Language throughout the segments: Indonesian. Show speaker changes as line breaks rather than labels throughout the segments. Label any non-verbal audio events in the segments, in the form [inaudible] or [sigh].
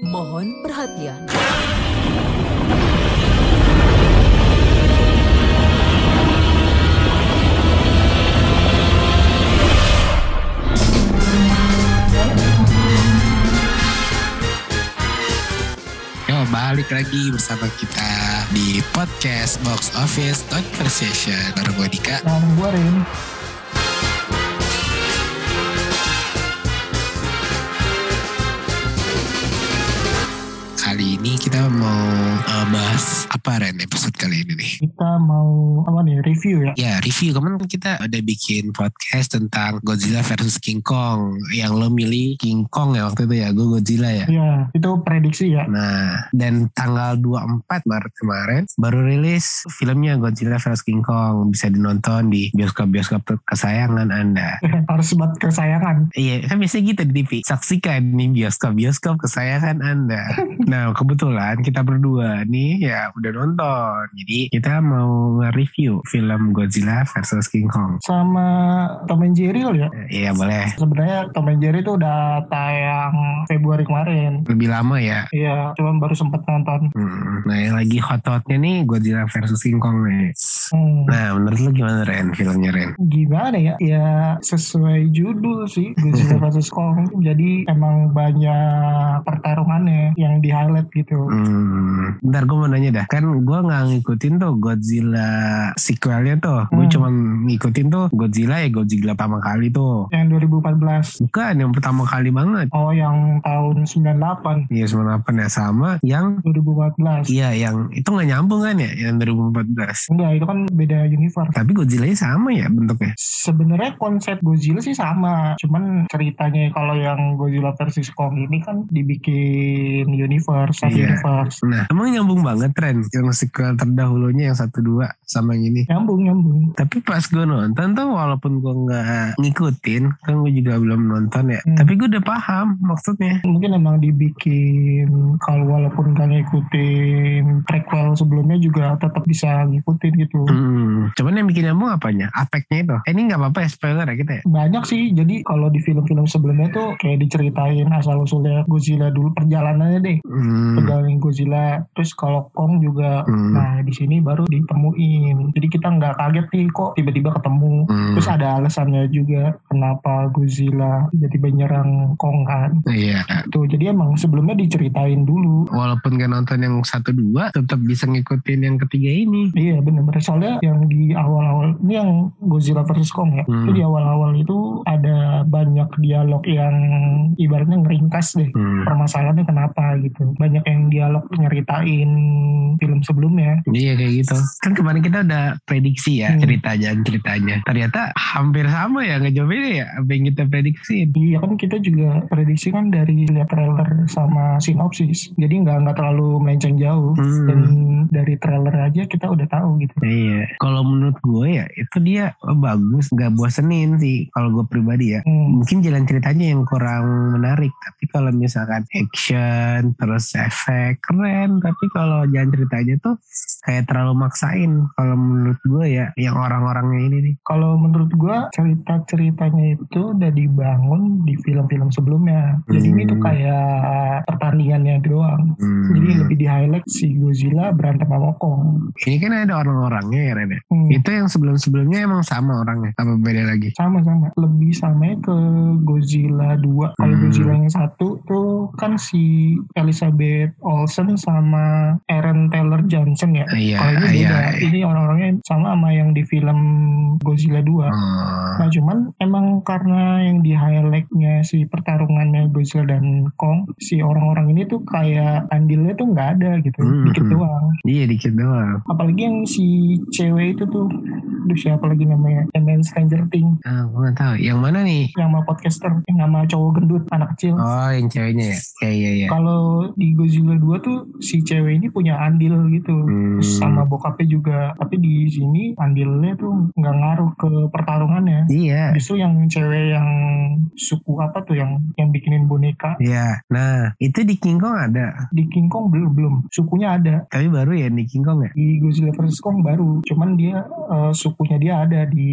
Mohon perhatian.
Yo, balik lagi bersama kita di podcast Box Office Talk Conversation bareng gue Dika.
Nah, gue Rin.
Kali ini kita mau eh, bahas apa Ren episode kali ini nih?
Kita mau apa nih review ya?
Ya review kemarin kan kita udah bikin podcast tentang Godzilla versus King Kong yang lo milih King Kong ya waktu itu ya gue Godzilla ya.
Iya, itu prediksi ya. [laughs]
Nah, dan tanggal 24 Maret kemarin baru rilis filmnya Godzilla vs King Kong bisa dinonton di bioskop-bioskop kesayangan Anda.
Harus buat kesayangan.
Iya, kan biasanya gitu di TV. Saksikan nih bioskop-bioskop kesayangan Anda. Nah, kebetulan kita berdua nih ya udah nonton. Jadi kita mau nge-review film Godzilla versus King Kong.
Sama Tom and Jerry kali ya.
Eh, Iya boleh.
Sebenarnya Tom and Jerry itu udah tayang Februari kemarin.
Lebih lama ya.
Iya, cuman baru sempet nonton.
Hmm. Nah, yang lagi hot-hotnya nih Godzilla versus King Kong nih.
Hmm,
Nah, menurut lu gimana Ren filmnya Ren?
gimana ya? Ya sesuai judul sih Godzilla vs Kong. Jadi emang banyak pertarungannya yang di highlight gitu.
Hmm, ntar gue mau nanya dah Kan gue gak ngikutin tuh Godzilla sequelnya tuh Gue
Hmm.
cuma ngikutin tuh Godzilla ya Godzilla pertama kali tuh
Yang 2014.
Bukan yang pertama kali banget
Oh, yang tahun 98.
Iya 98 ya sama Yang
2014.
Iya yang itu gak nyambung kan ya Yang 2014
Enggak, itu kan beda universe.
Tapi Godzilla nya sama ya bentuknya
Sebenarnya konsep Godzilla sih sama, cuman ceritanya kalau yang Godzilla versus Kong ini kan dibikin universe, satu
Iya.
universe.
Nah emang nyambung banget tren Yang sequel terdahulunya yang satu dua Sama yang ini
Nyambung, nyambung.
tapi pas gue nonton tuh walaupun gue nggak ngikutin kan gue juga belum nonton ya
Hmm.
tapi gue udah paham maksudnya
Mungkin emang dibikin kalau walaupun gak ngikutin prequel sebelumnya juga tetap bisa ngikutin gitu.
Hmm, cuman yang bikin nyambung apanya? Apeknya itu. Eh, ini nggak apa-apa ya spoiler ya kita ya.
Banyak sih, jadi kalau di film-film sebelumnya tuh kayak diceritain asal-usulnya Godzilla dulu perjalanannya deh.
Hmm.
Perjalanan Godzilla, terus kalau Kong juga
Hmm.
Nah, di sini baru ditemuin. Jadi kita nggak kaget nih kok tiba-tiba ketemu.
Hmm.
Terus ada alasannya juga kenapa Godzilla tiba-tiba nyerang Kong kan.
Iya.
Tuh, jadi emang sebelumnya diceritain dulu.
Walaupun gak nonton yang satu dua, tetap bisa ngikutin yang ketiga ini.
Iya bener bener soalnya yang di awal-awal ini yang Godzilla versus Kong ya.
Hmm.
Itu di awal-awal itu ada banyak dialog yang ibaratnya ngeringkas deh.
Hmm.
Permasalahannya kenapa gitu. Banyak yang dialog nyeritain film sebelumnya.
Iya kayak gitu. Kan kemarin kita udah prediksi ya
Hmm.
cerita ceritanya ceritanya. Ternyata hampir sama ya ngejombenya ya apa yang kita prediksiin.
Iya kan kita juga prediksi kan dari lihat trailer sama sinopsis, jadi nggak nggak terlalu melenceng jauh.
Hmm.
Dan dari trailer aja kita udah tahu gitu.
Iya. Kalau menurut gue ya itu dia bagus, nggak bosenin sih. Kalau gue pribadi ya.
Hmm.
mungkin jalan ceritanya yang kurang menarik tapi kalau misalkan action terus efek keren tapi kalau jalan ceritanya tuh kayak terlalu maksain kalau menurut gue ya yang orang-orangnya ini nih
Kalau menurut gua cerita ceritanya itu udah dibangun di film-film sebelumnya, jadi
Hmm.
ini tuh kayak pertandingannya doang. Jadi lebih di highlight si Godzilla berantem sama Kong.
ini kan ada orang-orangnya ya Ren ya?
Hmm.
itu yang sebelum-sebelumnya emang sama orangnya apa beda lagi
sama-sama lebih sama ya ke Godzilla 2 kalau
Hmm.
Godzilla yang satu tuh kan si Elizabeth Olsen sama Aaron Taylor Johnson ya
Ah, iya
kalau ini
iya
beda ini orang-orangnya sama sama yang di film Godzilla 2
Oh,
Nah cuman emang karena yang di highlightnya si pertarungannya Godzilla dan Kong Si orang-orang ini tuh kayak andilnya tuh nggak ada gitu
Hmm.
Dikit doang
iya dikit doang
Apalagi yang si cewek itu tuh Duh siapa lagi namanya Yang main Stranger Things
ah gue nggak tahu yang mana nih
yang sama podcaster yang sama cowok gendut anak kecil
oh yang ceweknya ya Oh, iya iya iya
kalau di Godzilla 2 tuh si cewek ini punya andil andil gitu
Hmm.
Terus sama bokapnya juga tapi di sini andilnya tuh nggak ngaruh ke pertarungannya
Iya.
justru yang cewek yang suku apa tuh yang yang bikinin boneka
Iya. Nah, itu di King Kong ada.
di King Kong belum belum sukunya ada
Tapi baru ya di King Kong ya?
di Godzilla vs Kong baru cuman dia eh, sukunya dia ada di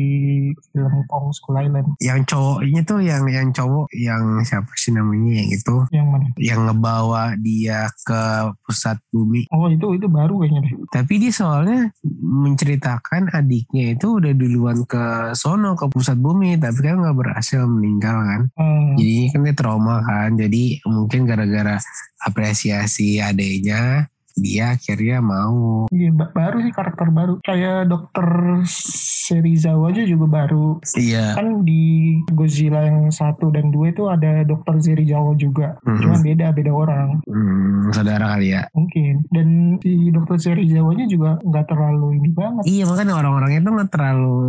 film Kong Skull Island
Yang cowoknya tuh yang yang cowok yang siapa sih namanya yang itu
yang mana
yang ngebawa dia ke pusat bumi.
oh itu itu baru kayaknya deh
Tapi dia soalnya menceritakan adiknya itu udah duluan ke sono ke pusat bumi, tapi kan nggak berhasil meninggal kan.
Hmm,
Jadi kan dia trauma kan. Jadi mungkin gara-gara apresiasi adiknya dia akhirnya mau
iya, ba- baru sih karakter baru kayak Dokter Serizawa aja juga baru
iya
kan di Godzilla yang satu dan dua itu ada Dokter Serizawa juga
Mhm.
cuman beda beda orang
hmm, saudara kali ya
mungkin dan si Dokter Serizawanya juga nggak terlalu ini banget
iya makanya orang-orangnya tuh nggak terlalu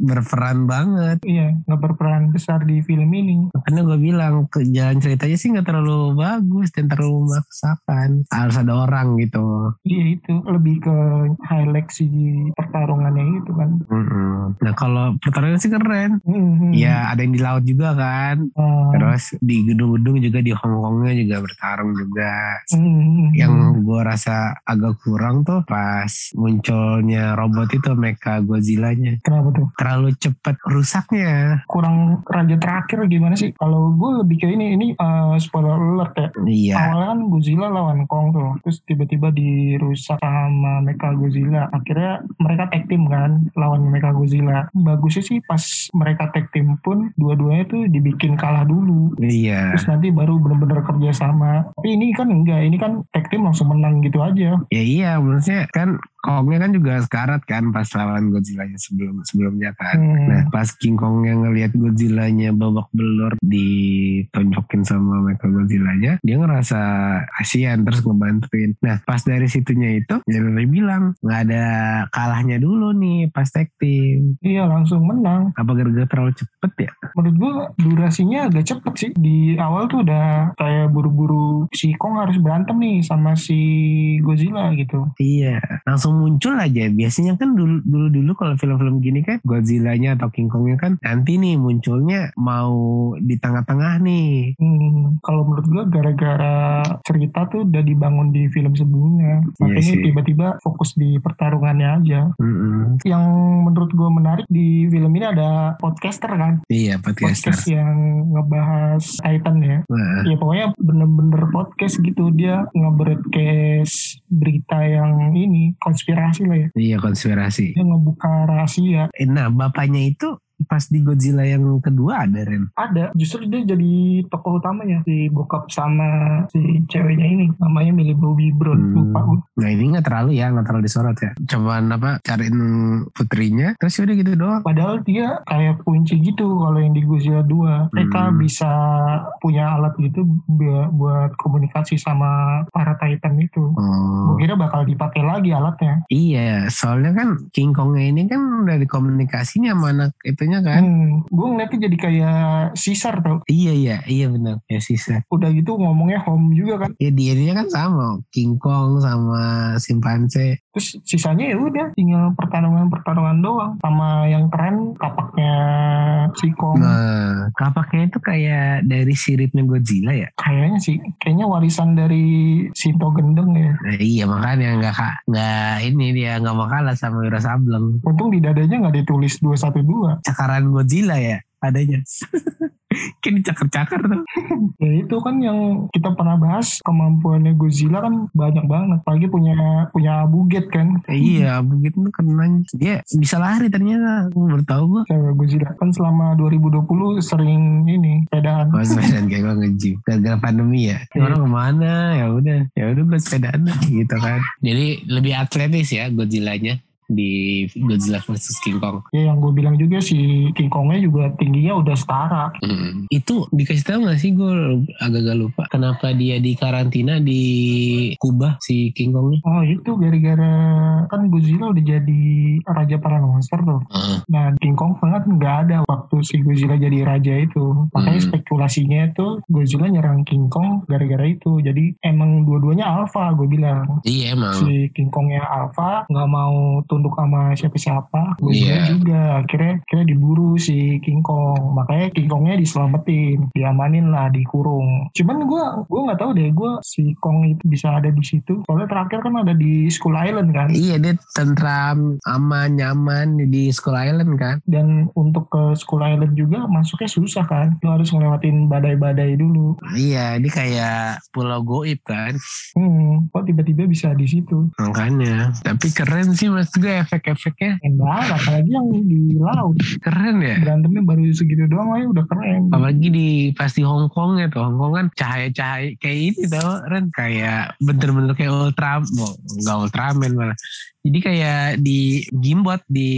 berperan banget
iya nggak berperan besar di film ini
karena gue bilang ke jalan ceritanya sih nggak terlalu bagus dan terlalu memaksakan harus ada orang gitu
Iya itu lebih ke highlight si pertarungannya itu kan.
Mhm. nah kalau pertarungan sih keren
Mhm.
ya ada yang di laut juga kan
Ah,
terus di gedung-gedung juga di Hongkongnya juga bertarung juga
mhm.
yang gue rasa agak kurang tuh pas munculnya robot itu mecha Godzilla-nya
kenapa tuh
terlalu cepet rusaknya
kurang raja terakhir gimana sih? Kalau gue lebih ke ini ini eh, spoiler alert ya.
iya
Awalnya kan Godzilla lawan Kong tuh, terus tiba-tiba dirusak sama Mecha Godzilla. Akhirnya mereka tag team kan lawan Mecha Godzilla. Bagusnya sih pas mereka tag team pun dua-duanya tuh dibikin kalah dulu.
iya
Terus nanti baru bener-bener kerjasama. Tapi ini kan enggak, ini kan tag team langsung menang gitu aja.
ya iya maksudnya kan Kongnya kan juga sekarat kan pas lawan Godzilla-nya sebelum sebelumnya kan
Hmm.
Nah pas King Kong yang ngelihat Godzilla-nya babak belur ditonjokin sama Mecha Godzilla-nya dia ngerasa kasihan terus ngebantuin. Nah pas dari situnya itu ya Lele bilang nggak ada kalahnya dulu nih pas tag team.
Iya langsung menang.
Apa gara-gara terlalu cepet ya?
Menurut gua durasinya agak cepet sih. Di awal tuh udah kayak buru-buru si Kong harus berantem nih sama si Godzilla gitu.
Iya, langsung muncul aja. Biasanya kan dulu dulu dulu kalau film-film gini kan Godzilla-nya atau King Kong-nya kan nanti nih munculnya mau di tengah-tengah nih.
Hmm, kalau menurut gua gara-gara cerita tuh udah dibangun di film sebelumnya.
Iya
Makanya
sih.
tiba-tiba fokus di pertarungannya aja.
Mm-mm.
Yang menurut gua menarik di film ini ada podcaster kan.
Iya, podcaster.
Podcast yang ngebahas Titan ya.
Nah,
Ya pokoknya bener-bener podcast gitu. Dia nge-broadcast berita yang ini. Konspirasi lah ya.
iya konspirasi.
dia ngebuka rahasia
Eh, Nah, bapaknya itu pas di Godzilla yang kedua ada Ren.
ada justru dia jadi tokoh utamanya si bokap sama si ceweknya ini namanya Millie Bobby Brown
Hmm.
lupa gua.
Nah ini nggak terlalu ya, nggak terlalu disorot ya. Cuman apa cariin putrinya, terus udah gitu doang.
padahal dia kayak kunci gitu kalau yang di Godzilla 2 mereka
Hmm.
bisa punya alat gitu bu- buat komunikasi sama para Titan itu
Oh.
Gua kira bakal dipakai lagi alatnya
Iya, soalnya kan King Kongnya ini kan udah dikomunikasinya sama anak itunya kan.
Hmm, gue ngeliatnya jadi kayak Caesar tau
Iya iya iya benar ya sisa.
udah gitu ngomongnya home juga kan
Ya dia kan sama King Kong sama simpanse.
terus sisanya ya udah tinggal pertarungan pertarungan doang sama yang keren kapaknya si Kong
Nah kapaknya itu kayak dari siripnya Godzilla ya.
kayaknya sih kayaknya warisan dari Sinto Gendeng ya
Nah, iya makanya nggak ka- nggak ini dia nggak mau kalah sama Wira Sableng.
untung di dadanya nggak ditulis 212
Cakaran Godzilla ya adanya. [laughs] Kayak dicakar-cakar tuh.
ya itu kan yang kita pernah bahas kemampuannya Godzilla kan banyak banget pagi punya punya buget kan
Eh, iya begitu tuh kena. Dia bisa lari ternyata. Gue baru tahu gue.
cewek Godzilla kan selama 2020 sering ini sepedaan
Gue sepedaan kayak gue nge-gym Gara-gara pandemi ya Ini Orang kemana ya udah ya udah gue sepedaan dah, gitu kan Jadi lebih atletis ya Godzilla-nya di Godzilla versus King Kong.
Ya yang gue bilang juga si King Kongnya juga tingginya udah setara.
Hmm. Itu dikasih tahu nggak sih gue agak-agak lupa kenapa dia di karantina di Kuba si King Kongnya?
Oh itu gara-gara kan Godzilla udah jadi raja para monster tuh.
Heeh.
Nah King Kong banget nggak ada waktu si Godzilla jadi raja itu. Makanya
Hmm.
spekulasinya itu Godzilla nyerang King Kong gara-gara itu. Jadi emang dua-duanya alpha gue bilang.
Iya emang.
Si King Kongnya alpha nggak mau tunduk sama siapa-siapa. Godzilla
Iya.
juga akhirnya akhirnya diburu si King Kong. Makanya King Kongnya diselamatin, diamanin lah, dikurung. Cuman gue gue nggak tahu deh gue si Kong itu bisa ada di situ. Soalnya terakhir kan ada di School Island kan.
Iya dia tentram, aman, nyaman di Skull Island kan?
dan untuk ke School Island juga masuknya susah kan lo harus ngelewatin badai-badai dulu
Iya, dia kayak pulau goib kan?
hmm kok tiba-tiba bisa di situ
Makanya. Tapi keren sih mas gue efek-efeknya.
keren banget apalagi yang di laut
Keren ya.
berantemnya baru segitu doang aja udah keren
Apalagi di pasti Hong Kong ya tuh. Hong Kong kan cahaya-cahaya kayak ini tau Ren. Kayak bener-bener kayak Ultraman. Well, nggak Ultraman malah. Jadi kayak di gimbot di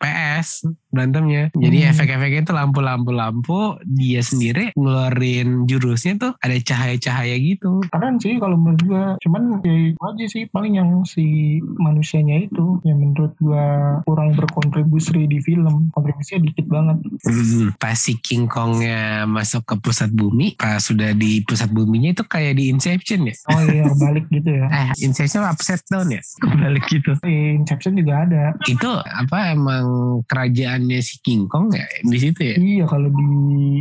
PS berantemnya. Jadi
Hmm.
efek-efeknya tuh lampu-lampu-lampu. Dia sendiri ngeluarin jurusnya tuh ada cahaya-cahaya gitu.
keren sih kalau menurut gua cuman ya itu aja sih paling yang si manusianya itu yang menurut gua kurang berkontribusi di film kontribusinya dikit banget
Hmm, Pas si King Kongnya masuk ke pusat bumi. Pas sudah di pusat buminya itu kayak di Inception ya.
oh iya
[laughs]
balik gitu ya
Eh, Inception apa upside down ya? Kebalik gitu.
Eh, Inception juga ada
itu apa emang kerajaannya si King Kong ya di situ ya?
iya kalau di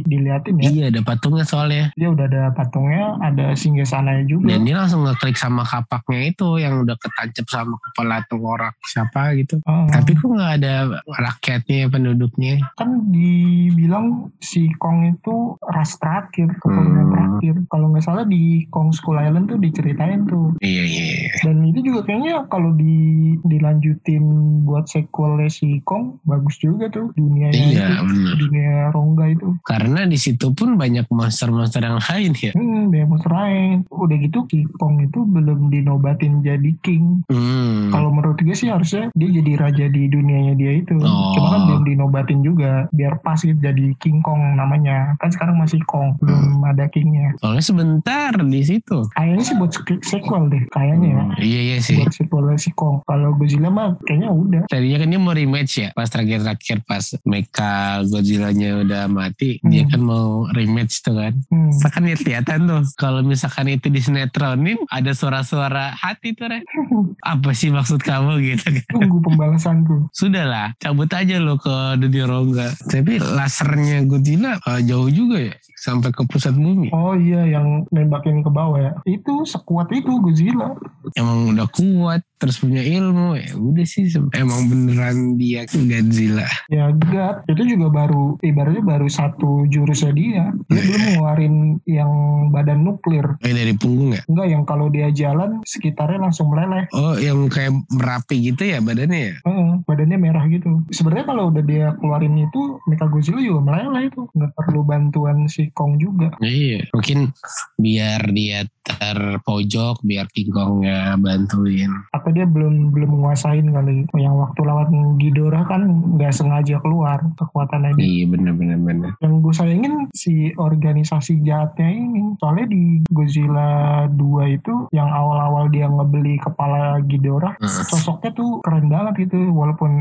diliatin ya
Iya ada patungnya soalnya
dia udah ada patungnya ada singgasananya juga
dan dia langsung ngeklik sama kapaknya itu yang udah ketancap sama kepala tengkorak siapa gitu.
Ah,
Tapi kok nggak ada rakyatnya penduduknya?
kan dibilang si Kong itu ras terakhir, keturunan
Hmm.
terakhir. Kalau nggak salah di Kong School Island tuh diceritain tuh.
Iya iya. iya.
Dan itu juga kayaknya kalau di dilanjutin buat sequelnya si Kong bagus juga tuh dunianya
Iya
itu,
benar.
dunia rongga itu.
Karena di situ pun banyak monster-monster yang lain ya.
Hmm, dia monster lain. Udah gitu si Kong itu belum dinobatin jadi king.
Hmm.
Kalau menurut gue sih harusnya dia jadi raja di dunianya dia itu.
Oh.
Cuma kan belum dinobatin juga. Biar pas gitu jadi King Kong namanya. Kan sekarang masih
Hmm.
Kong. Belum ada Kingnya.
Soalnya sebentar di situ.
Kayaknya sih buat se- sequel deh. Kayaknya ya.
Iya iya sih.
Buat sequel si Kong. Kalau Godzilla mah kayaknya udah.
Tadinya kan dia mau rematch ya pas terakhir-terakhir pas Mecha Godzilla-nya udah mati dia
Hmm.
kan mau rematch tuh kan. [laughs]
Hmm.
Masa kan ya kelihatan tuh kalau misalkan itu disenetronin ada suara-suara hati tuh Ren. Apa sih maksud kamu gitu kan.
Tunggu pembalasanku.
Sudahlah, cabut aja lo ke dunia rongga. Tapi lasernya Godzilla eh, jauh juga ya sampai ke pusat bumi.
Oh iya yang nembakin ke bawah ya. Itu sekuat itu Godzilla.
Emang udah kuat, terus punya ilmu. Ya udah sih se- emang beneran dia Godzilla.
Ya God. Itu juga baru. Ibaratnya baru satu jurusnya dia. Dia belum ngeluarin yang badan nuklir.
Eh dari punggung ya.
Enggak yang kalau dia jalan sekitarnya langsung meleleh.
Oh, yang kayak merapi gitu ya badannya ya?
Heeh, badannya merah gitu. Sebenarnya kalau udah dia keluarin itu, Mechagodzilla juga meleleh itu. Nggak perlu bantuan si Kong juga.
Iya, mungkin biar dia terpojok, biar King Kongnya bantuin.
Atau dia belum belum menguasain kali. Yang waktu lawan Ghidorah kan nggak sengaja keluar kekuatannya dia.
Iya, bener-bener. Bener.
Yang gue sayangin si organisasi jahatnya ini. Soalnya di Godzilla 2 itu, yang awal-awal dia ngebeli kepala Ghidorah,
Heeh.
sosoknya tuh keren banget gitu walaupun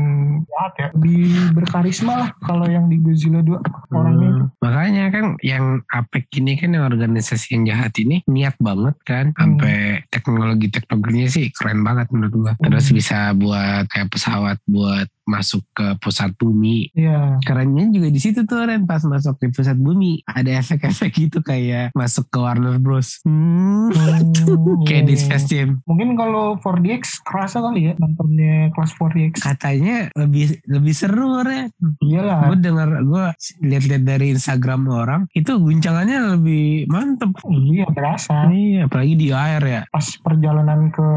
jahat ya lebih berkarisma lah kalau yang di Godzilla 2 orangnya itu
Hmm, Makanya kan yang APEC ini kan yang organisasi yang jahat ini niat banget kan
Hmm.
sampai teknologi-teknologinya sih keren banget menurut gua. Terus
Hmm.
bisa buat kayak pesawat buat masuk ke pusat bumi.
Iya
Kerennya juga di situ tuh Ren pas masuk di pusat bumi ada efek-efek gitu kayak masuk ke Warner Bros. Hmm.
Hmm,
[laughs] [laughs] kayak
iya,
di
iya.
Space Jam.
mungkin kalau 4DX kerasa kali ya nontonnya kelas 4DX
katanya lebih lebih seru Ren.
iyalah
Gue denger gue lihat-lihat dari Instagram orang itu guncangannya lebih mantep.
iya berasa
Iya, apalagi di air ya.
pas perjalanan ke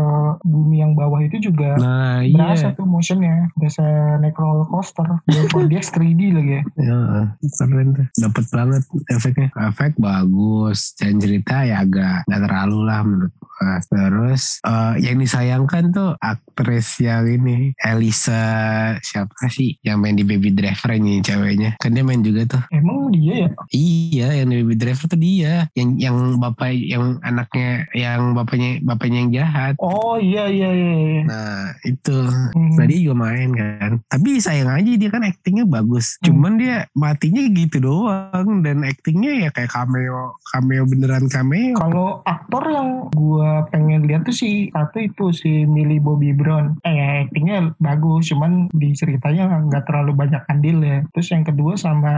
bumi yang bawah itu juga
Nah, iya.
berasa tuh motionnya berasa naik roller coaster dan 4DX 3D lagi ya
Heeh, keren tuh. Dapat banget efeknya. Efek bagus, dan cerita ya agak nggak terlalu lah menurut gua. Nah, terus eh, yang disayangkan tuh aktris yang ini Elisa siapa sih yang main di Baby Driver yang ceweknya kan dia main juga tuh
Emang dia ya?
iya yang di Baby Driver tuh dia yang yang bapak yang anaknya yang bapaknya bapaknya yang jahat
Oh iya iya iya. iya.
nah itu
Hmm.
Nah dia juga main kan Tapi sayang aja dia kan aktingnya bagus Cuman dia matinya gitu doang Dan aktingnya ya kayak cameo Cameo beneran cameo
Kalau aktor yang gua pengen lihat tuh si satu itu si Millie Bobby Brown. Eh actingnya bagus, cuman di ceritanya nggak terlalu banyak andil ya. Terus yang kedua sama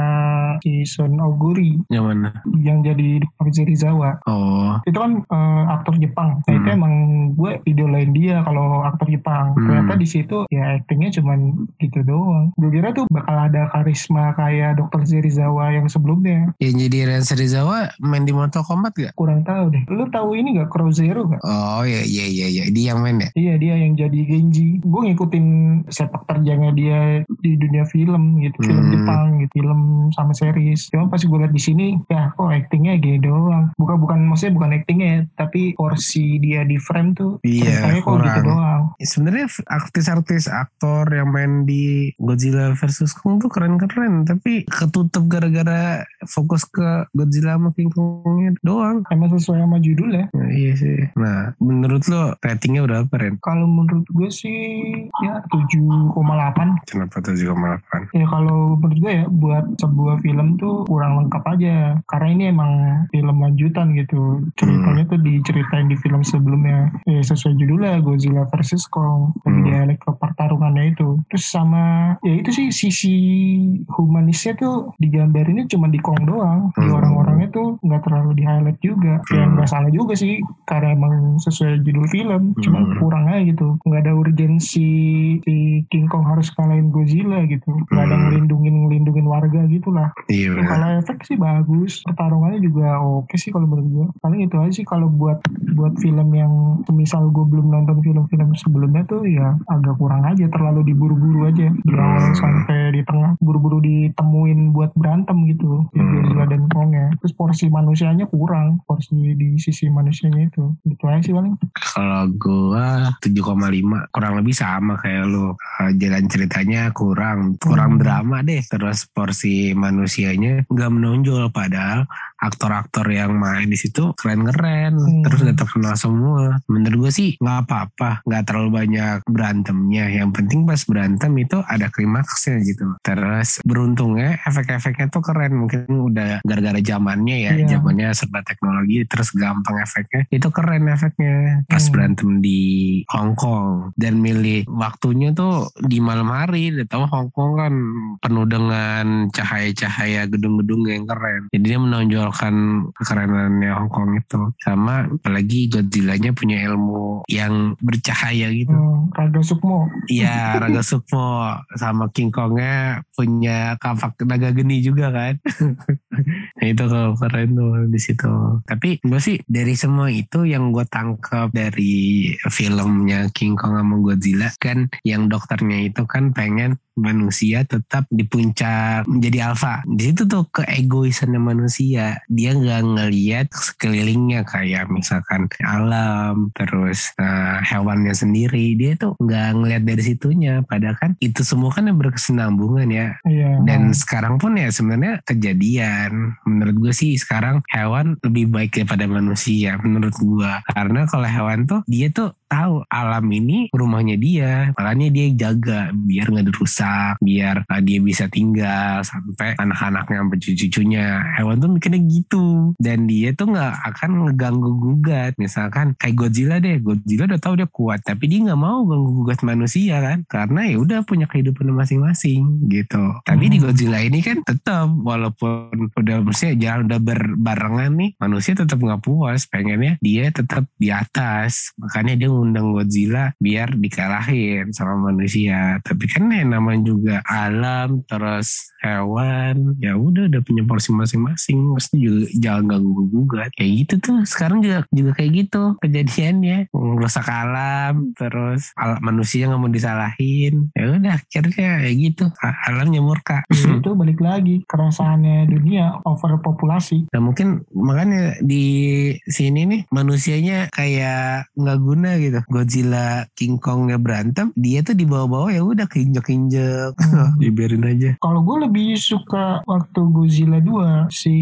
si Son Oguri
Yang mana?
yang jadi Dr. Zerizawa.
Oh
Itu kan eh, aktor Jepang. Nah, itu
Hmm.
emang gue idolain dia kalau aktor Jepang.
Hmm.
Ternyata di situ ya actingnya cuman gitu doang. Gue kira tuh bakal ada karisma kayak Dr. Zerizawa yang sebelumnya.
Yang jadi Ren Serizawa main di Mortal Kombat gak?
Kurang tahu deh. Lu tahu ini nggak Crow Zero nggak?
Oh iya iya iya iya Dia yang main ya?
Iya dia yang jadi Genji. Gue ngikutin sepak terjangnya dia di dunia film gitu, film
Hmm.
Jepang gitu, film sama series. Cuma pas gue liat di sini, ya kok actingnya gini doang. Bukan bukan maksudnya bukan actingnya, ya, tapi porsi dia di frame tuh
Iya,
ceritanya kok gitu
kurang.
doang.
Sebenarnya artis-artis aktor yang main di Godzilla versus Kong tuh keren-keren Tapi ketutup gara-gara fokus ke Godzilla sama King Kongnya doang
Emang sesuai sama judul ya.
Nah, iya sih. Nah, menurut lo ratingnya berapa, Ren?
Kalau menurut gue sih ya 7,8.
Kenapa 7,8?
Ya kalau menurut gue ya buat sebuah film tuh kurang lengkap aja. Karena ini emang film lanjutan gitu. Ceritanya
Hmm.
tuh diceritain di film sebelumnya. Ya sesuai judulnya Godzilla vs Kong. Tapi
Hmm.
dialek ke pertarungannya itu. Terus sama ya itu sih sisi humanisnya tuh digambarinnya cuma di Kong doang. Di
Hmm.
orang-orangnya tuh nggak terlalu di highlight juga. Ya
Hmm.
nggak salah juga sih karena emang sesuai judul film. Cuma
Hmm.
kurang aja gitu nggak ada urgensi si King Kong harus kalahin Godzilla gitu nggak ada
Hmm.
ngelindungin ngelindungin warga gitu lah
Iya benar.
kalau efek sih bagus pertarungannya juga oke sih kalau menurut gue paling itu aja sih kalau buat buat film yang misal gue belum nonton film-film sebelumnya tuh ya agak kurang aja terlalu diburu-buru aja di awal
Hmm.
sampai di tengah buru-buru ditemuin buat berantem gitu si
Hmm.
Godzilla dan Kongnya terus porsi manusianya kurang porsi di sisi manusianya itu gitu aja sih paling
Kalau gua 7,5 kurang lebih sama kayak lu. Eh, Jalan ceritanya kurang, kurang
Hmm.
drama deh. Terus porsi manusianya nggak menonjol padahal aktor-aktor yang main di situ keren-keren.
Hmm.
Terus udah terkenal semua. Menurut gua sih nggak apa-apa, nggak terlalu banyak berantemnya. Yang penting pas berantem itu ada klimaksnya gitu. Terus beruntungnya efek-efeknya tuh keren. Mungkin udah gara-gara zamannya ya,
Iya.
zamannya serba teknologi terus gampang efeknya. Itu keren efeknya pas
Hmm.
berantem di Hong Kong dan milih waktunya tuh di malam hari. Udah tahu Hong Kong kan penuh dengan cahaya-cahaya gedung-gedung yang keren. Jadi dia menonjolkan kekerenannya Hong Kong itu. Sama apalagi Godzilla-nya punya ilmu yang bercahaya gitu.
Hmm, Raga Sukmo
Iya, Raga Sukmo sama King Kongnya punya kapak naga geni juga kan. Nah, itu kalau keren tuh di situ. Tapi gue sih dari semua itu yang gue tangkap dari filmnya King Kong sama Godzilla kan yang dokternya itu kan pengen manusia tetap di puncak menjadi alfa. Di situ tuh keegoisannya manusia. Dia nggak ngeliat sekelilingnya kayak misalkan alam, terus eh, hewannya sendiri. Dia tuh nggak ngeliat dari situnya. Padahal kan itu semua kan yang berkesinambungan ya.
iya
Dan sekarang pun ya sebenarnya kejadian. Menurut gue sih sekarang hewan lebih baik daripada manusia. Menurut gue karena kalau hewan tuh dia tuh tahu alam ini rumahnya dia, makanya dia jaga biar nggak dirusak, biar uh, dia bisa tinggal sampai anak-anaknya sampai cucu-cucunya. Hewan tuh mikirnya gitu dan dia tuh nggak akan ngeganggu gugat. Misalkan kayak Godzilla deh, Godzilla udah tahu dia kuat, tapi dia nggak mau ganggu gugat manusia kan, karena ya udah punya kehidupan masing-masing gitu. Tapi di
Hmm.
Godzilla ini kan tetap walaupun udah maksudnya jalan udah berbarengan nih manusia tetap nggak puas pengennya dia tetap di atas makanya dia undang Godzilla biar dikalahin sama manusia tapi kan yang namanya juga alam terus hewan ya udah udah punya porsi masing-masing mesti juga jangan ganggu gugat kayak gitu tuh sekarang juga juga kayak gitu kejadiannya merusak alam terus alam manusia nggak mau disalahin ya udah akhirnya ya gitu A- alamnya murka
itu balik lagi keresahannya dunia overpopulasi
[laughs] Nah mungkin makanya di sini nih manusianya kayak nggak guna gitu. Godzilla, King Kongnya berantem, dia tuh dibawa-bawa ya udah keinjek-injek,
Hmm.
dibiarin aja.
Kalau gue lebih suka waktu Godzilla 2, si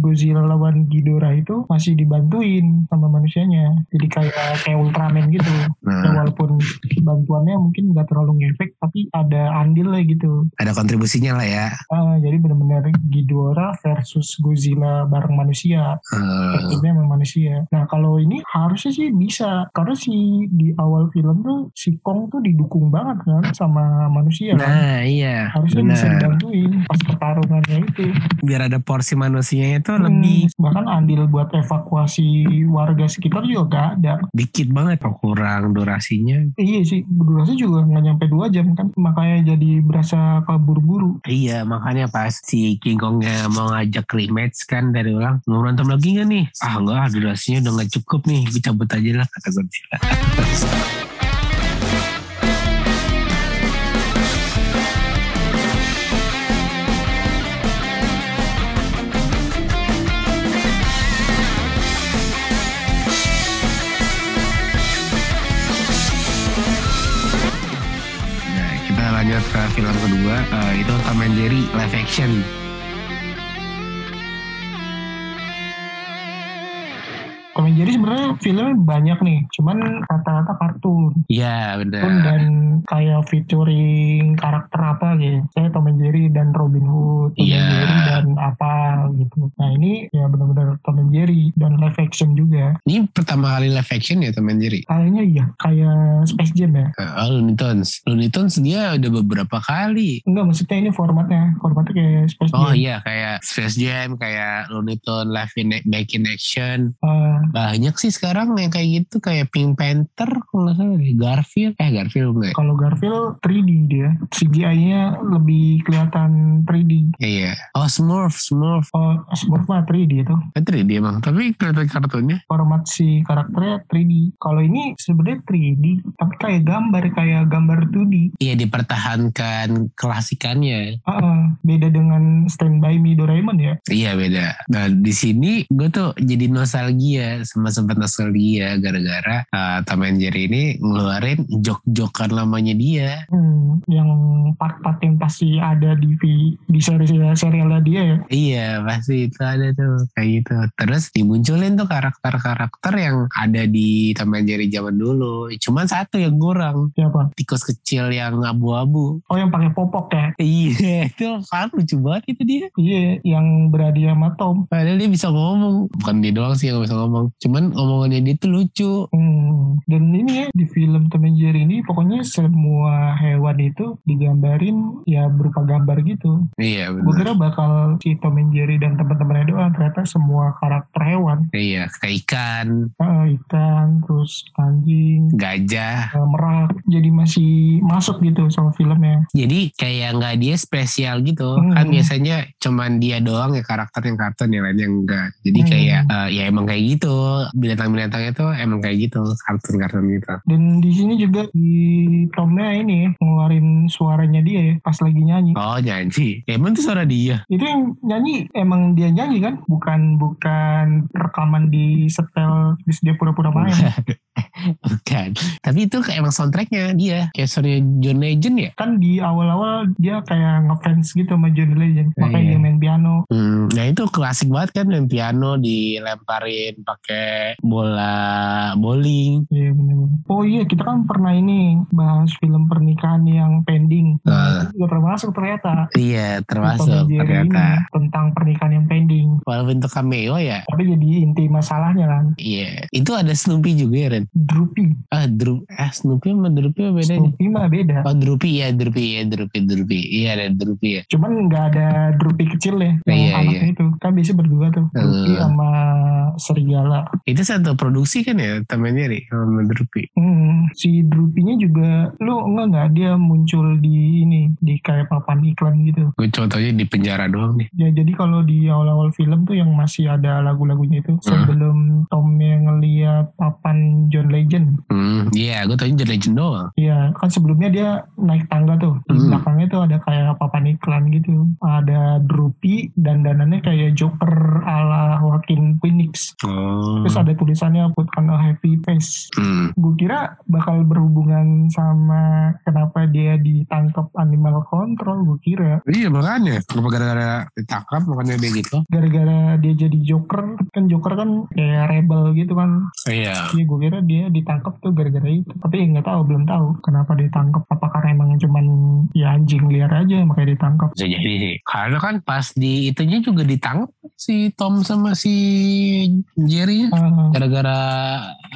Godzilla lawan Ghidorah itu masih dibantuin sama manusianya. Jadi kayak kayak Ultraman gitu. Ya,
Nah,
walaupun bantuannya mungkin nggak terlalu ngefek, tapi ada andil lah gitu.
ada kontribusinya lah ya.
Ah, jadi benar-benar Ghidorah versus Godzilla bareng manusia.
Eh,
Maksudnya sama manusia. Nah kalau ini harusnya sih bisa. Karena si di awal film tuh si Kong tuh didukung banget kan sama manusia. kan.
Nah iya
Harusnya bisa
benar
dibantuin pas pertarungannya itu.
Biar ada porsi manusianya itu
Hmm,
lebih
bahkan andil buat evakuasi warga sekitar juga gak ada
dikit banget kok kurang durasinya
iya sih durasi juga nggak nyampe dua jam kan makanya jadi berasa keburu-buru
Iya makanya pas si King Kongnya mau ngajak rematch kan dari ulang mau berantem lagi nggak nih? Ah nggak durasinya udah nggak cukup nih gue cabut aja lah kata Godzilla. Nah, kita lanjut ke film kedua eh, itu Tom and Jerry live action
Tom and Jerry sebenarnya filmnya banyak nih cuman rata-rata kartun
Iya
Kartun
bener
dan kayak featuring karakter apa gitu saya Tom and Jerry dan Robin Hood Tom
Iya.
and Jerry dan apa gitu nah ini ya benar-benar Tom and Jerry dan live action juga
Ini pertama kali live action ya Tom and Jerry
kayaknya iya kayak Space Jam ya
Nah, Oh Looney Tunes Looney Tunes dia udah beberapa kali
Enggak maksudnya ini formatnya formatnya kayak Space
Oh
Jam
iya kayak Space Jam kayak Looney Tunes live in, back in action
Ah,
Banyak sih sekarang yang kayak gitu kayak Pink Panther kalau nggak salah deh. Garfield eh Garfield enggak ya?
Kalau Garfield 3D dia, CGI-nya lebih kelihatan 3D.
Iya. Oh Smurf Smurf
Oh, Smurf mah 3D itu.
Panther dia emang tapi kelihatan kartunnya
Format si karakternya 3D. Kalau ini sebenarnya 3D, tapi kayak gambar, kayak gambar 2D.
Iya dipertahankan kelasikannya
Ah, ah. beda dengan Stand By Me Doraemon ya.
Iya beda Nah di sini gue tuh jadi nostalgia Sama sempat nostalgia gara-gara uh, Tom and Jerry ini ngeluarin jok-jokan lamanya dia
Hmm, yang part-part yang pasti ada di vi- di serial serialnya dia ya.
Iya pasti itu ada tuh kayak gitu. Terus dimunculin tuh karakter-karakter yang ada di Tom and Jerry zaman dulu. Cuman satu yang kurang,
Siapa?
tikus kecil yang abu-abu.
Oh, yang pakai popok ya.
Iya [laughs] itu kan lucu banget itu dia.
Iya, yang beradi sama Tom.
Padahal dia bisa ngomong. Bukan dia doang sih yang bisa ngomong. Cuman omongannya dia tuh lucu.
Hmm, dan ini ya di film Tom and Jerry ini pokoknya semua hewan itu digambarin ya berupa gambar gitu.
Iya
Gue
benar.
kira bakal si Tom and Jerry dan teman-temannya doang ternyata semua karakter hewan.
Iya kayak ikan,
Eh, ikan, terus anjing,
gajah.
eh, merak. Jadi masih masuk gitu sama filmnya.
Jadi kayak nggak dia spesial gitu.
Hmm.
Kan biasanya cuman dia doang ya karakter yang kartun yang lainnya enggak. Jadi
Hmm.
kayak eh, ya emang kayak gitu. Binatang-binatangnya tuh emang kayak gitu. Kartun-kartun gitu.
Dan di sini juga di Tomnya ini ya, ngeluarin suaranya dia ya pas lagi nyanyi.
Oh nyanyi. Ya, emang tuh suara dia.
Itu yang nyanyi emang dia nyanyi kan? Bukan bukan rekaman di setel terus dia pura-pura main.
[laughs] Bukan. Tapi itu kayak emang soundtracknya dia. Kayak suaranya John Legend ya.
kan di awal-awal dia kayak ngefans gitu sama John Legend
Nah,
makanya
iya.
dia main piano
Hmm, nah itu klasik banget kan main piano dilemparin pakai bola bowling.
Iya bener-bener. oh iya kita kan pernah ini bahas film pernikahan yang pending
Ah.
Itu juga termasuk ternyata
Iya
Tom
termasuk
and Jerry
ternyata.
ini tentang pernikahan yang pending
Walaupun itu cameo ya.
tapi jadi inti masalahnya kan
Iya, itu ada Snoopy juga ya Ren.
Droopy.
Ah, Dru ah Snoopy sama Droopy apa bedanya?
Snoopy mah beda.
Oh, Droopy ya, Droopy ya, Droopy, Droopy. Iya, ada Droopy ya.
Cuman nggak ada Droopy kecil ya. Yang
Iya,
anaknya itu. Kan biasanya berdua tuh. Droopy
Hmm.
sama serigala.
Itu satu produksi kan ya, Taman Jerry sama Droopy.
Hmm, si Droopy-nya juga lu enggak enggak dia muncul di ini di kayak papan iklan gitu.
Gue contohnya di penjara doang nih.
Ya jadi kalau di awal-awal film tuh yang masih ada lagu-lagunya itu sebelum Tom yang ngeliat papan John Legend.
Hmm, iya, gue taunya The Legend doang.
Ya kan sebelumnya dia naik tangga tuh. Di
Hmm.
belakangnya tuh ada kayak papan iklan gitu. Ada Droopy dan danannya kayak Joker ala Joaquin Phoenix.
Oh.
Terus ada tulisannya put on a happy face.
Hmm.
gue kira bakal berhubungan sama kenapa dia ditangkap animal control gue kira
Iya makanya Kenapa gara-gara ditangkap Makanya dia gitu
gara-gara dia jadi joker kan joker kan kayak rebel gitu kan
Iya
ya gue kira dia ditangkap tuh gara-gara itu tapi ya nggak tahu belum tahu kenapa ditangkap apakah emang cuman ya anjing liar aja makanya ditangkap
Bisa jadi sih Karena kan pas di itunya juga ditangkap Si Tom sama si Jerry
Ah,
Gara-gara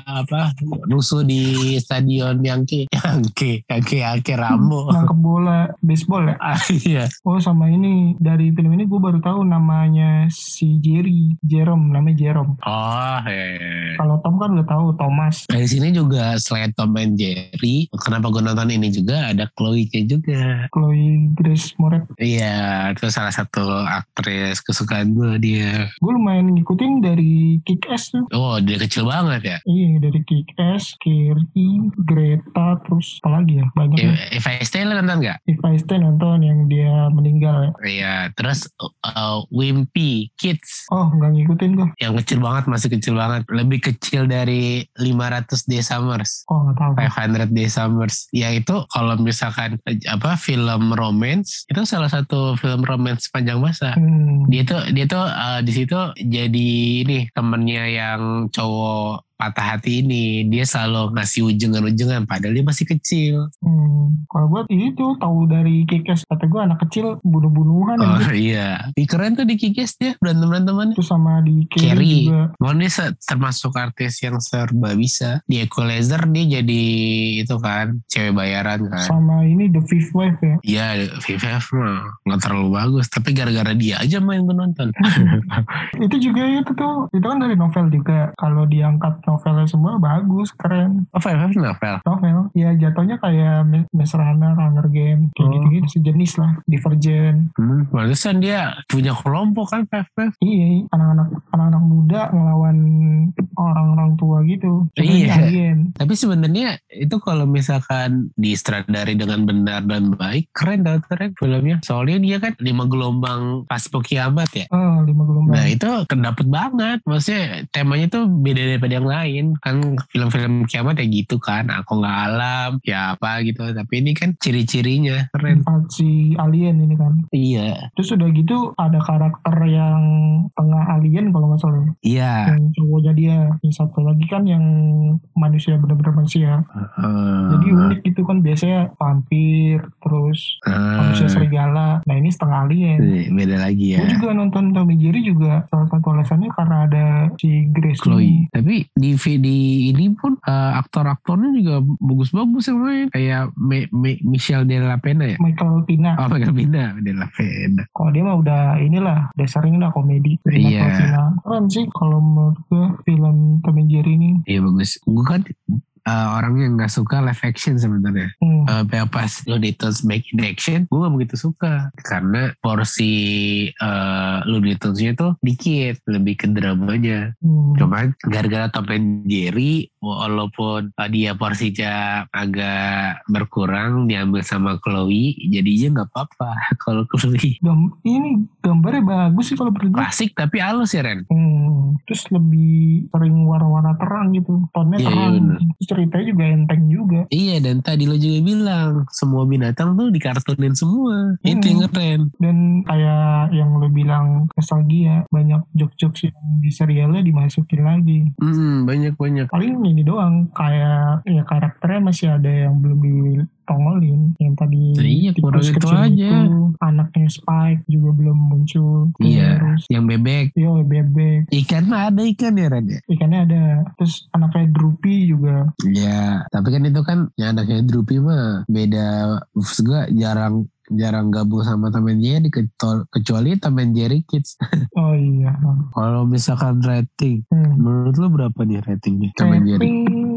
apa rusuh di stadion Yankee [laughs] Yankee Yankee Yankee Rambo [laughs]
nangkep bola baseball ya
Ah, Iya
oh sama ini dari film ini gue baru tahu namanya si Jerry Jerome namanya Jerome
Oh iya, iya, iya.
kalau Tom kan udah tahu Thomas
Nah, di sini juga selain Tom and Jerry, kenapa gue nonton ini juga ada Chloe-nya juga.
Chloe Grace Moretz
Iya, itu salah satu aktris kesukaan gue dia.
gue lumayan ngikutin dari Kick Ass tuh
Oh, dia kecil banget ya.
iya dari Kick Ass Kiri Greta terus apa lagi ya banyak ya.
If I Stay lo Eh, nonton nggak?
If I Stay nonton yang dia meninggal ya
Iya. Terus uh, Wimpy Kids
oh nggak ngikutin gue
yang kecil banget masih kecil banget. Lebih kecil dari 500 Day Summers.
oh nggak
Iya. 500
tahu
Day Summers ya itu kalau misalkan eh, apa film romance itu salah satu film romance sepanjang masa
hmm.
dia tuh dia tuh eh, di situ jadi ini temennya yang cowok patah hati ini dia selalu ngasih ujengan-ujengan padahal dia masih kecil
hmm. kalau gue itu tahu dari Kick Ass kata gue anak kecil bunuh-bunuhan
oh
aja.
iya Ih, keren tuh di Kikis dia berantem berantemannya
terus sama di Kiri,
Carrie.
juga
Mohon dia se- termasuk artis yang serba bisa. Di Equalizer dia jadi itu kan, cewek bayaran kan.
sama ini The Fifth Wave ya
Iya, VVF mah nggak terlalu bagus. Tapi gara-gara dia aja main gue nonton.
itu juga itu tuh itu kan dari novel juga kalau diangkat novelnya semua bagus keren
Oh, VVF novel.
novel ya jatuhnya kayak Mi- Maze Runner, Hunger Game kayak
Oh.
gitu-gitu sejenis lah Divergent
Hmm, pantesan dia punya kelompok kan VVF.
iya anak-anak anak-anak muda ngelawan orang-orang tua gitu Sebenarnya
Iya.
alien.
Tapi sebenarnya itu kalau misalkan disutradari dengan benar dan baik, keren tau keren filmnya. Soalnya dia kan lima gelombang pas kiamat ya.
Eh, lima gelombang
Nah itu kedapet banget Maksudnya temanya tuh beda daripada yang lain Kan film-film kiamat ya gitu kan Aku nggak alam Ya apa gitu Tapi ini kan ciri-cirinya Keren
invasi alien ini kan
Iya
terus udah gitu ada karakter yang tengah alien kalau nggak salah ya.
Iya
yang cowoknya dia yang satu lagi kan yang manusia bener-bener manusia
Heeh.
jadi unik gitu kan biasanya vampir terus
Heeh.
manusia serigala nah ini setengah alien
Nih, ah, Beda lagi ya
Gue juga nonton Tommy Jerry juga salah satu alasannya karena ada si Grace
Chloe
ini.
Tapi di VD ini pun eh, Aktor-aktornya juga bagus-bagus yang main Kayak Me- Me- Michelle Della Pena
[laughs]
ya
Michael Pina.
Oh Michael Pina Della Pena
Kalau dia mah udah inilah dasarnya lah komedi.
Iya.
Michael Pina. Keren sih kalau menurut gue film Tommy Jerry ini.
Iya bagus Gue kan eh, orang yang gak suka live action sebenarnya
Hmm.
Eh, kayak pas Looney-Tunes Back in Action gue gak begitu suka karena porsi eh, Looney Tunes-nya tuh dikit lebih ke dramanya
Hmm.
cuman gara-gara Tom and Jerry walaupun eh, dia porsinya agak berkurang diambil sama Chloe jadinya nggak apa-apa [laughs] kalau Chloe
Gam- ini gambarnya bagus sih kalau berdua.
klasik tapi halus ya Ren
Hmm. Terus lebih sering warna-warna terang gitu. Tonnya
Iya, iya,
terang.
bener.
Terus ceritanya juga enteng juga.
Iya dan tadi lo juga bilang semua binatang tuh dikartunin semua itu yang keren
Dan kayak yang lo bilang nostalgia. Banyak jokes-jokes yang di serialnya dimasukin lagi.
Mm, banyak banyak
paling ya ini doang kayak ya karakternya masih ada yang belum ditongolin yang tadi
Nah, iya, kurang
tikus
itu
kecil
aja.
anaknya Spike juga belum muncul
Iya.
terus
Yang bebek.
yo bebek
Ikan mah ada ikan ya Ren ya?
ikannya ada terus anaknya Droopy juga
Ya, tapi kan itu kan yang anaknya Drupi mah beda. Maksud gue jarang jarang gabung sama Tom and Jerry kecuali, kecuali Tom and Jerry Kids.
oh iya
Kalau misalkan rating,
hmm.
menurut lu berapa nih ratingnya Tom and Jerry?
Rating,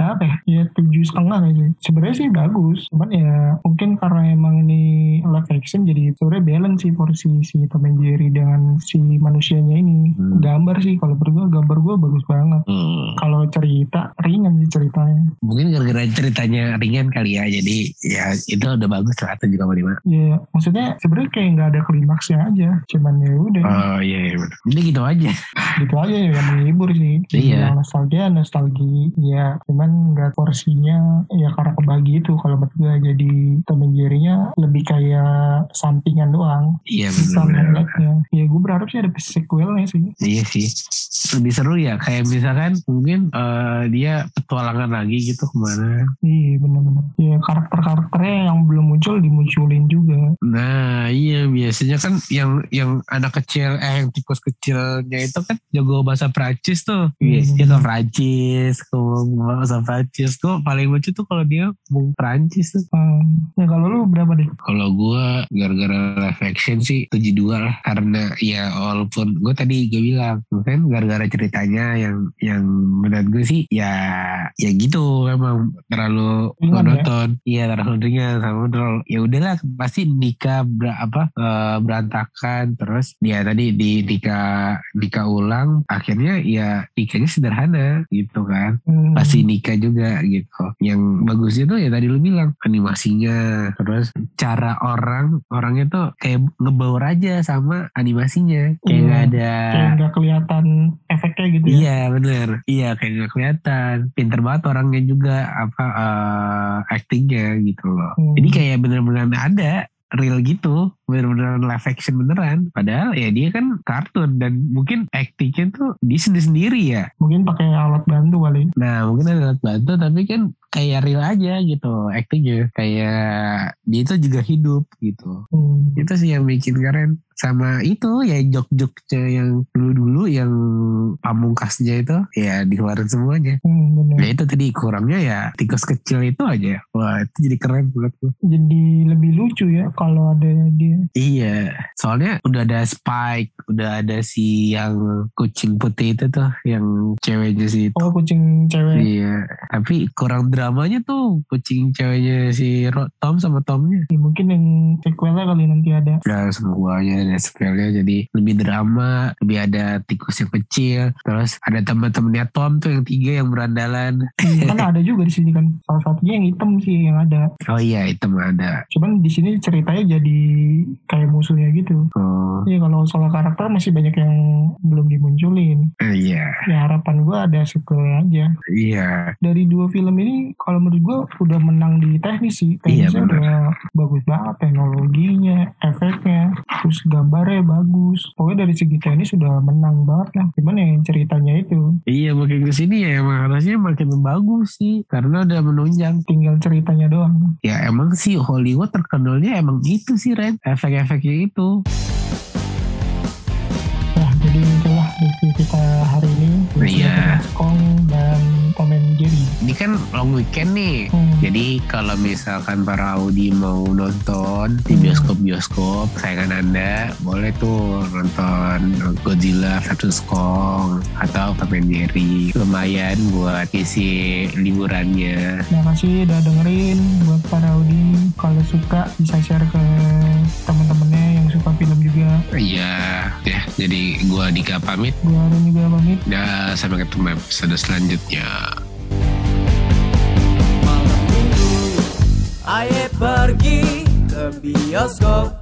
Berapa ya? Ya tujuh setengah kayaknya. Sebenarnya sih bagus, cuman ya mungkin karena emang ini live action jadi sebenarnya balance sih porsi si Tom and Jerry dengan si manusianya ini.
Hmm.
Gambar sih kalau berdua gambar gue bagus banget.
Hmm,
Kalau cerita ringan sih ceritanya.
mungkin gara-gara ceritanya ringan kali ya, jadi ya itu udah bagus lah 7,5.
Ya maksudnya sebenarnya kayak nggak ada klimaksnya aja, cuman ya udah
Oh iya, iya bener. Jadi gitu aja.
gitu aja ya yang menghibur sih.
Iya.
Yang nostalgia nostalgia ya cuman nggak porsinya ya karena kebagi itu kalau menurut gue jadi Tom and Jerry-nya lebih kayak sampingan doang
Iya
sama
benar.
like-nya. ya gue berharap sih ada sequelnya sih
Iya sih. Lebih seru ya kayak misalkan mungkin eh, dia petualangan lagi gitu kemana.
iya bener-bener ya karakter-karakternya yang belum muncul dimunculin juga
Nah iya biasanya kan yang yang anak kecil eh yang tikus kecilnya itu kan jago bahasa Prancis tuh. Biasanya ke Prancis, ke bahasa Prancis. Gue paling lucu tuh kalau dia ngomong Prancis tuh.
Hmm. nah kalau lu berapa deh
Kalau gue gara-gara live action sih 72 lah karena ya walaupun gue tadi gue bilang mungkin gara-gara ceritanya yang yang menurut gue sih ya ya gitu emang terlalu
Ringan ya?
monoton iya terlalu ringan sama terlalu ya udahlah pasti nikah ber- apa eh, berantakan terus ya tadi di nikah nikah ulang akhirnya ya nikahnya sederhana gitu kan
Hmm.
pasti nikah juga gitu. Yang bagusnya tuh ya tadi lu bilang animasinya, terus cara orang orangnya tuh kayak ngebaur aja sama animasinya, kayak
Iya.
nggak ada.
kayak nggak kelihatan efeknya gitu ya
Iya bener Iya kayak nggak kelihatan Pinter banget orangnya juga Apa eh, Actingnya gitu loh
Hmm.
Jadi kayak bener-bener ada Real gitu Bener-bener live action beneran Padahal ya dia kan kartun Dan mungkin actingnya tuh Dia sendiri-sendiri ya
mungkin pakai alat bantu kali
Nah mungkin ada alat bantu tapi kan kayak real aja gitu actingnya kayak dia itu juga hidup gitu
Hmm.
itu sih yang bikin keren sama itu ya jok-joknya yang dulu-dulu yang pamungkasnya itu ya dikeluarin semuanya
Hmm, bener.
nah itu tadi kurangnya ya tikus kecil itu aja wah itu jadi keren menurut gue
jadi lebih lucu ya kalau ada dia
iya soalnya udah ada Spike udah ada si yang kucing putih itu tuh yang ceweknya si
oh kucing cewek
Iya, tapi kurang dramanya tuh kucing ceweknya si Ro- Tom sama Tomnya.
Ya, mungkin yang sequelnya kali nanti ada
Ya semuanya ada spellnya jadi lebih drama, lebih ada tikus yang kecil, terus ada teman-temannya Tom tuh yang tiga yang berandalan.
kan ada juga di sini kan salah satunya yang hitam sih yang ada
Oh iya itu mah ada.
cuman di sini ceritanya jadi kayak musuhnya gitu
Oh
Iya kalau soal karakter masih banyak yang belum dimunculin.
eh, iya
Ya harapan gue ada sequel aja.
iya
Dari dua film ini kalau menurut gue udah menang di teknis sih.
Iya,
Teknisnya udah bagus banget teknologinya, efeknya, terus gambarnya bagus. Pokoknya dari segi teknis sudah menang banget lah. Cuman yang ceritanya itu
iya makin kesini ya emang harusnya makin bagus sih karena udah menunjang.
tinggal ceritanya doang.
Ya emang sih Hollywood terkenalnya emang itu sih Ren efek-efeknya itu.
Nah, jadi itulah review kita hari ini. Review
Iya.
tentang Kong dan komen Jerry.
Ini kan long weekend nih.
Hmm.
Jadi kalau misalkan para Audi mau nonton di
Hmm.
bioskop-bioskop sayangan Anda, boleh tuh nonton Godzilla vs Kong atau Tom and Jerry. Lumayan buat isi liburannya.
Terima kasih udah dengerin buat para Audi. Kalau suka bisa share ke teman-temannya yang suka film juga.
Iya, ya. Jadi gua Dika pamit.
Gue Arun juga pamit.
Dan sampai ketemu episode selanjutnya.
Ayo pergi ke bioskop